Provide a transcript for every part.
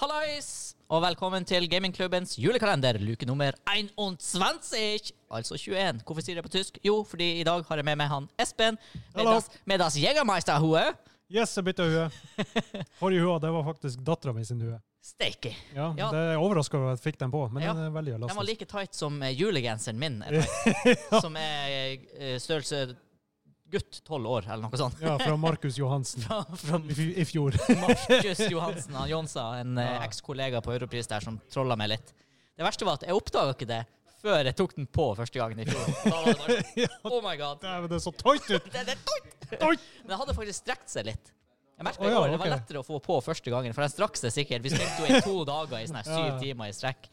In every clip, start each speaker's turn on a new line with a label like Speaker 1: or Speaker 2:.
Speaker 1: Hallais! Og velkommen til gamingklubbens julekalender, luke nummer 21. Altså 21. Hvorfor sier jeg det på tysk? Jo, fordi i dag har jeg med meg han Espen. Med
Speaker 2: Hallo.
Speaker 1: das, med das Jägermeisterhue.
Speaker 2: Yes, jeg bytta hue. Forrige hue det var faktisk dattera mi sin hue.
Speaker 1: Steike.
Speaker 2: Ja,
Speaker 1: Ja.
Speaker 2: Det er overraska over at jeg fikk den på, men
Speaker 1: Ja.
Speaker 2: den er veldig
Speaker 1: Den var
Speaker 2: elastisk.
Speaker 1: like tight som eh, julegenseren min, er tight, som er eh, størrelse gutt 12 år, eller noe sånt.
Speaker 2: Ja, Fra Markus Johansen
Speaker 1: Fra, fra
Speaker 2: i fj- i fjor.
Speaker 1: Markus Johansen av Jonsa, en eh,
Speaker 2: Ja.
Speaker 1: ekskollega på Europris der som trolla meg litt. Det verste var at jeg oppdaga ikke det før jeg tok den på første gangen i fjor. Da var det bare, oh my god.
Speaker 2: Dæven, det er så tight ut!
Speaker 1: Det, det,
Speaker 2: Oi!
Speaker 1: men det hadde faktisk strekt seg litt. Jeg merket
Speaker 2: Å,
Speaker 1: i
Speaker 2: ja,
Speaker 1: år, Det var
Speaker 2: ok.
Speaker 1: lettere å få på første gangen, for den strakk seg sikkert. Vi spilte jo i to dager i sånne her
Speaker 2: Ja, ja.
Speaker 1: syv timer i strekk.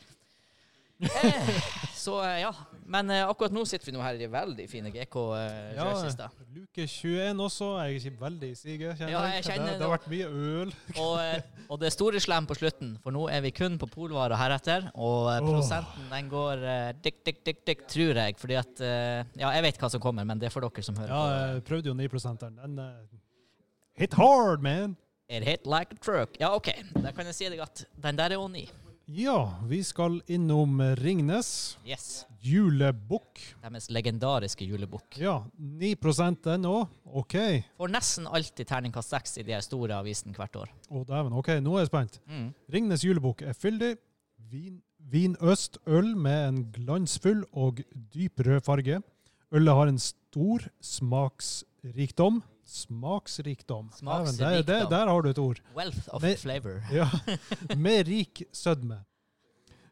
Speaker 1: Eh, så eh, ja. Men eh, akkurat nå sitter vi nå her i veldig fine
Speaker 2: Ja,
Speaker 1: GK-rørsista.
Speaker 2: luke 21 også. Jeg er ikke veldig i siget, kjenner
Speaker 1: Ja, jeg kjenner
Speaker 2: det, det har vært mye øl.
Speaker 1: Og, eh, og det er store slem på slutten, for nå er vi kun på polvarer heretter. Og eh,
Speaker 2: Åh.
Speaker 1: prosenten den går eh, dikk, dikk, dikk, dikk, tror jeg. Fordi at eh, Ja, jeg vet hva som kommer, men det er for dere som hører
Speaker 2: Ja, jeg prøvde jo 9 -eren. Den eh, Hit hard, man!
Speaker 1: på. It hit like a truck. Ja, OK. Da kan jeg si deg at den der er Oni.
Speaker 2: Ja, vi skal innom Ringnes.
Speaker 1: Yes.
Speaker 2: Julebukk.
Speaker 1: Deres legendariske julebukk.
Speaker 2: Ja, 9 den òg. OK.
Speaker 1: Får nesten alltid terningkast seks i de her store avisene hvert år.
Speaker 2: Å, dæven. OK, nå er jeg spent.
Speaker 1: Mm.
Speaker 2: Ringnes julebukk er fyldig. Vin, vinøst øl med en glansfull og dyp rød farge. Ølet har en stor smaksrikdom. Smaksrikdom. Dæven, Der, der,
Speaker 1: Smaksrikdom.
Speaker 2: der har du et ord.
Speaker 1: Wealth of
Speaker 2: Men-
Speaker 1: flavor.
Speaker 2: Ja. Med rik sødme.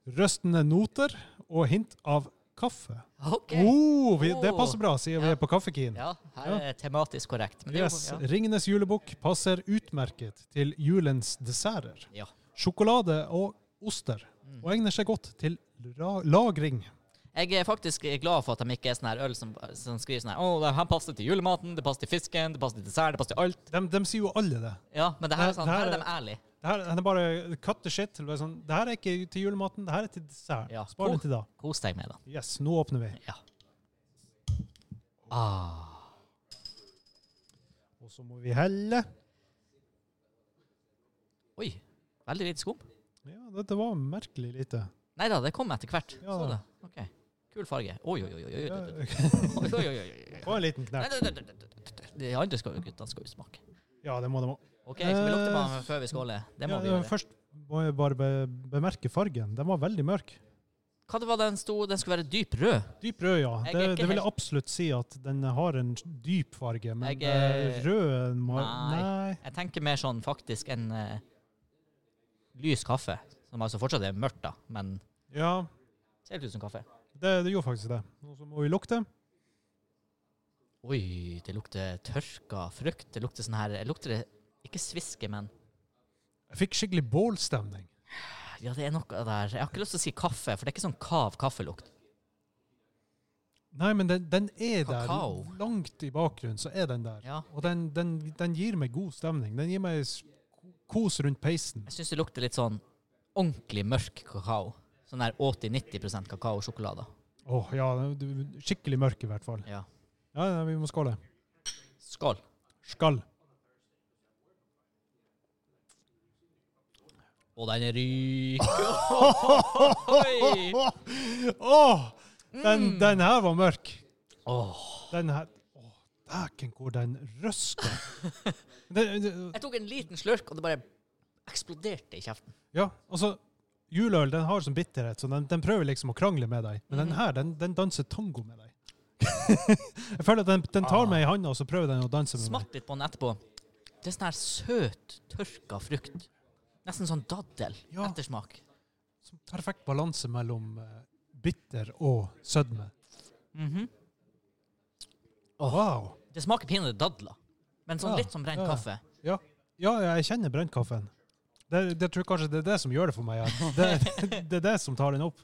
Speaker 2: Røstende noter og hint av kaffe.
Speaker 1: OK.
Speaker 2: Oh, vi, det
Speaker 1: Oh.
Speaker 2: passer bra, siden vi
Speaker 1: Ja.
Speaker 2: er på kaffekien.
Speaker 1: Ja, her er det tematisk korrekt. Men det er jo-
Speaker 2: Yes, Ringenes julebukk passer utmerket til julens desserter.
Speaker 1: ja. ja.
Speaker 2: Sjokolade og oster.
Speaker 1: Mm.
Speaker 2: Og egner seg godt til ra lagring.
Speaker 1: Jeg er faktisk glad for at de ikke er sånn her øl som, som skriver sånn her Å, det her passer til julematen, det passer til fisken, det passer til dessert, det passer til alt.
Speaker 2: De, de sier jo alle det.
Speaker 1: Ja, men det her er
Speaker 2: Det-
Speaker 1: sånn,
Speaker 2: det her
Speaker 1: her er
Speaker 2: er-
Speaker 1: de ærlige.
Speaker 2: Det her det er bare cut the shit. Det er Sånn, det her er ikke til julematen, det her er til dessert.
Speaker 1: Ja.
Speaker 2: Spar
Speaker 1: Oh.
Speaker 2: det til da.
Speaker 1: Kos deg med det.
Speaker 2: Yes, nå åpner vi.
Speaker 1: Ja. Ah,
Speaker 2: Og så må vi helle.
Speaker 1: oi. Veldig lite skum.
Speaker 2: Ja, dette var merkelig lite.
Speaker 1: Nei da, det kom etter hvert.
Speaker 2: Ja.
Speaker 1: Så det. Ok. Kul farge. Oi, oi, oi. oi, oi,
Speaker 2: Ja,
Speaker 1: oi, oi, oi, oi, oi, oi.
Speaker 2: Få en liten
Speaker 1: Nei,
Speaker 2: knert.
Speaker 1: nei, nei, nei, nei. De andre skal jo, guttene skal jo smake.
Speaker 2: Ja, det må de ha.
Speaker 1: OK, skal vi lukte på dem før vi skåler? Det må
Speaker 2: Ja,
Speaker 1: vi gjøre.
Speaker 2: Først må jeg bare be bemerke fargen. Den var veldig mørk.
Speaker 1: Hva det var den sto Den skulle være dyp rød.
Speaker 2: Dyp rød, ja.
Speaker 1: Jeg er
Speaker 2: Det,
Speaker 1: ikke
Speaker 2: det vil jeg
Speaker 1: helt-
Speaker 2: absolutt si at den har en dyp farge, men
Speaker 1: Jeg er-
Speaker 2: eh, rød må...
Speaker 1: Nei.
Speaker 2: Nei.
Speaker 1: Jeg tenker mer sånn faktisk en eh, lys kaffe, som altså fortsatt er mørkt, da, men
Speaker 2: Ja,
Speaker 1: ser ut som kaffe.
Speaker 2: det, det gjorde faktisk det. Og så må vi lukte.
Speaker 1: Oi, det lukter tørka frukt. Det lukter sånn her det lukter det ikke sviske, men
Speaker 2: Jeg fikk skikkelig bålstemning.
Speaker 1: ja, det er noe der. Jeg har ikke lyst til å si kaffe, for det er ikke sånn kav kaffelukt.
Speaker 2: Nei, men den, den er
Speaker 1: Kakao.
Speaker 2: der. Langt i bakgrunnen så er den der.
Speaker 1: Ja.
Speaker 2: Og den, den, den gir meg god stemning. Den gir meg s- kos rundt peisen.
Speaker 1: Jeg syns det lukter litt sånn ordentlig mørk kakao. Sånn der 80-90 kakaosjokolade.
Speaker 2: Åh, ja, du- skikkelig mørk i hvert fall.
Speaker 1: Ja.
Speaker 2: Ja, ja, vi må skåle.
Speaker 1: Skål.
Speaker 2: Skall.
Speaker 1: Og den er ryk. Oi!
Speaker 2: Åh, den, den her var mørk.
Speaker 1: Åh.
Speaker 2: Den her... Åh, dæken hvor den røsker. Den- den-
Speaker 1: Jeg tok en liten slurk, og det bare eksploderte i kjeften.
Speaker 2: ja, altså... Juleøl, den har sånn bitterhet, så den, den prøver liksom å krangle med deg. Men den her, den, den danser tango med deg. jeg føler at den, den tar meg i handa, og så prøver den å danse med meg.
Speaker 1: Smatt litt på den etterpå. Det er sånn her søt, tørka frukt. Nesten sånn daddel.
Speaker 2: Ja.
Speaker 1: Ettersmak.
Speaker 2: Som Sånn perfekt balanse mellom eh, bitter og sødme. Wow.
Speaker 1: Mhm. Det smaker pinadø dadler, men sånn
Speaker 2: Ja,
Speaker 1: litt som brent
Speaker 2: ja, ja.
Speaker 1: kaffe.
Speaker 2: Ja, ja ja, jeg kjenner brentkaffen. Det, det tror jeg kanskje det er det som gjør det for meg. Ja. Det, det, det er det som tar den opp.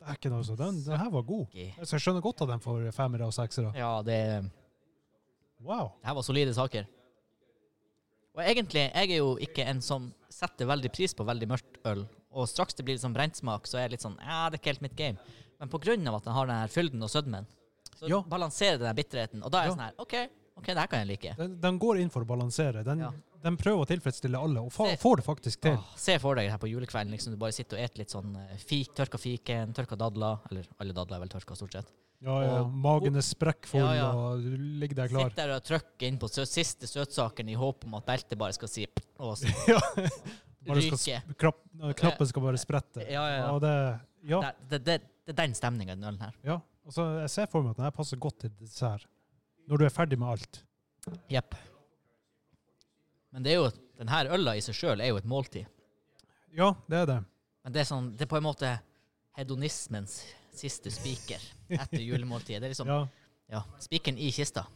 Speaker 2: Det er ikke noe sånt. Den, den her var god.
Speaker 1: Ok.
Speaker 2: Så jeg skjønner godt at den får femmere og seksere.
Speaker 1: Ja, det,
Speaker 2: Wow.
Speaker 1: det her var solide saker. Og egentlig, jeg er jo ikke en som setter veldig pris på veldig mørkt øl, og straks det blir litt sånn brent smak, så er jeg litt sånn Ja, det er ikke helt mitt game. Men på grunn av at den har den her fylden og sødmen, så
Speaker 2: Ja.
Speaker 1: balanserer den her bitterheten, og da er jeg
Speaker 2: Ja.
Speaker 1: sånn her OK, OK, det her kan jeg like.
Speaker 2: Den, den går inn for å balansere. Den,
Speaker 1: Ja.
Speaker 2: den prøver å tilfredsstille alle, og fa
Speaker 1: Se. Ah.
Speaker 2: får det faktisk til.
Speaker 1: Åh, se for deg det her på julekvelden, liksom du bare sitter og eter litt sånn eh, fik, tørka fiken, tørka dadler. Eller alle dadler er vel tørka, stort sett.
Speaker 2: Ja, ja.
Speaker 1: Og-
Speaker 2: Magen er sprekkfull,
Speaker 1: Ja, ja.
Speaker 2: og du ligger der klar.
Speaker 1: Sitter der og trykker inn på sø siste søtsaken i håp om at beltet bare skal si pff, og så
Speaker 2: Ja. Bare skal Ah.
Speaker 1: ryke.
Speaker 2: sp- krapp, eh, knappen skal bare sprette.
Speaker 1: Ja, ja, ja.
Speaker 2: Og det, ja,
Speaker 1: Det, det, det, det er den stemninga i den ølen her.
Speaker 2: ja. Og så jeg ser for meg at den her passer godt til dessert. Når du er ferdig med alt.
Speaker 1: Jepp. Men det er jo den her øla i seg sjøl er jo et måltid.
Speaker 2: Ja, det er det.
Speaker 1: Men det er sånn Det er på en måte hedonismens siste spiker etter julemåltidet. Det er liksom Ja,
Speaker 2: Ja.
Speaker 1: spikeren i kista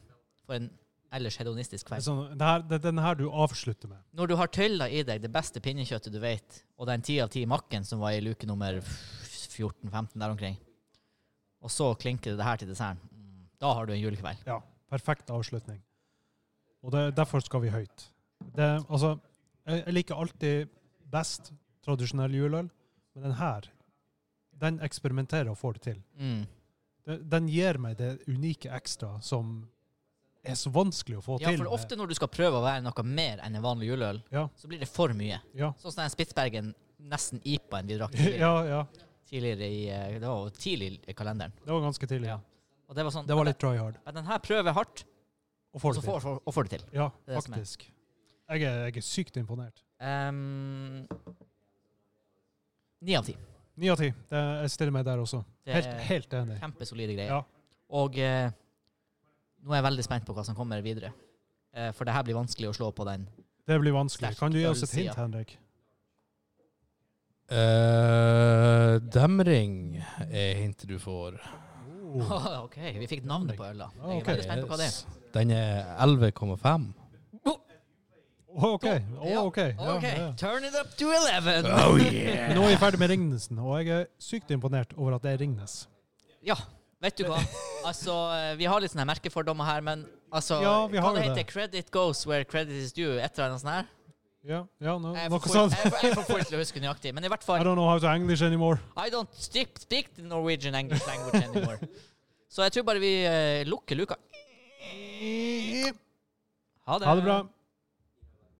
Speaker 1: for en ellers hedonistisk
Speaker 2: Det er
Speaker 1: kveld.
Speaker 2: sånn, det, her, det er den her du avslutter med.
Speaker 1: Når du har tølla i deg det beste pinnekjøttet du vet, og den ti av ti makken som var i luke nummer 14-15 der omkring, og så klinker det her til desserten, mm, da har du en julekveld.
Speaker 2: Ja, perfekt avslutning. Og det, derfor skal vi høyt. Det, altså, jeg, jeg liker alltid best tradisjonell juleøl, men den her, den eksperimenterer og får det til.
Speaker 1: Mm.
Speaker 2: Den, den gir meg det unike ekstra som er så vanskelig å få
Speaker 1: Ja,
Speaker 2: til.
Speaker 1: for
Speaker 2: med-
Speaker 1: ofte når du skal prøve å være noe mer enn en vanlig juleøl,
Speaker 2: Ja.
Speaker 1: så blir det for mye.
Speaker 2: Ja,
Speaker 1: Sånn som den Spitsbergen, nesten IPA-en vi drakk tidligere,
Speaker 2: ja, ja.
Speaker 1: tidligere i eh, Det var jo tidlig i kalenderen.
Speaker 2: Det var ganske tidlig.
Speaker 1: Ja. Og det var sånn
Speaker 2: Det var litt try hard.
Speaker 1: Men den her prøver hardt,
Speaker 2: Og
Speaker 1: og
Speaker 2: får
Speaker 1: så
Speaker 2: det til.
Speaker 1: får, får, og får det til.
Speaker 2: Ja,
Speaker 1: Det er det som er.
Speaker 2: faktisk. Jeg er, jeg er sykt imponert.
Speaker 1: Ehm, Ni av ti.
Speaker 2: Ni av ti. Det- Jeg stiller meg der også.
Speaker 1: Det
Speaker 2: Helt,
Speaker 1: er-
Speaker 2: helt enig.
Speaker 1: Kjempesolide greier.
Speaker 2: Ja.
Speaker 1: Og eh, nå er jeg veldig spent på hva som kommer videre. Eh, for det her blir vanskelig å slå på den.
Speaker 2: Det blir vanskelig.
Speaker 1: Sterk
Speaker 2: Kan du gi oss et
Speaker 1: ølsida.
Speaker 2: hint, Henrik?
Speaker 3: Eh, demring er hintet du får.
Speaker 1: OK, vi fikk navnet på øla.
Speaker 2: Ah,
Speaker 1: Jeg er
Speaker 2: Oh. ok.
Speaker 1: veldig spent på hva det er.
Speaker 3: Yes. Den er 11,5.
Speaker 2: Å, OK. Å,
Speaker 1: Ja,
Speaker 2: OK. Ja,
Speaker 1: OK,
Speaker 2: ja.
Speaker 1: turn it up to 11!
Speaker 2: Men nå er vi ferdig med Ringnesen, og jeg er sykt imponert over at det er Ringnes.
Speaker 1: Ja, vet du hva? Altså, eh, vi har litt sånne merkefordommer her, men altså
Speaker 2: Ja, vi har
Speaker 1: Hva det
Speaker 2: jo
Speaker 1: heter
Speaker 2: det.
Speaker 1: Credit goes where credit is due, et eller annet sånt her?
Speaker 2: Ja, ja no,
Speaker 1: Jeg
Speaker 2: noe
Speaker 1: får-
Speaker 2: sånt.
Speaker 1: Jeg får- jeg får ikke til å huske nøyaktig, men i hvert
Speaker 2: I
Speaker 1: fall
Speaker 2: don't know how to English anymore.
Speaker 1: I don't stick, speak the Norwegian English language anymore. Så jeg tror bare vi eh, lukker luka.
Speaker 2: Ha det bra.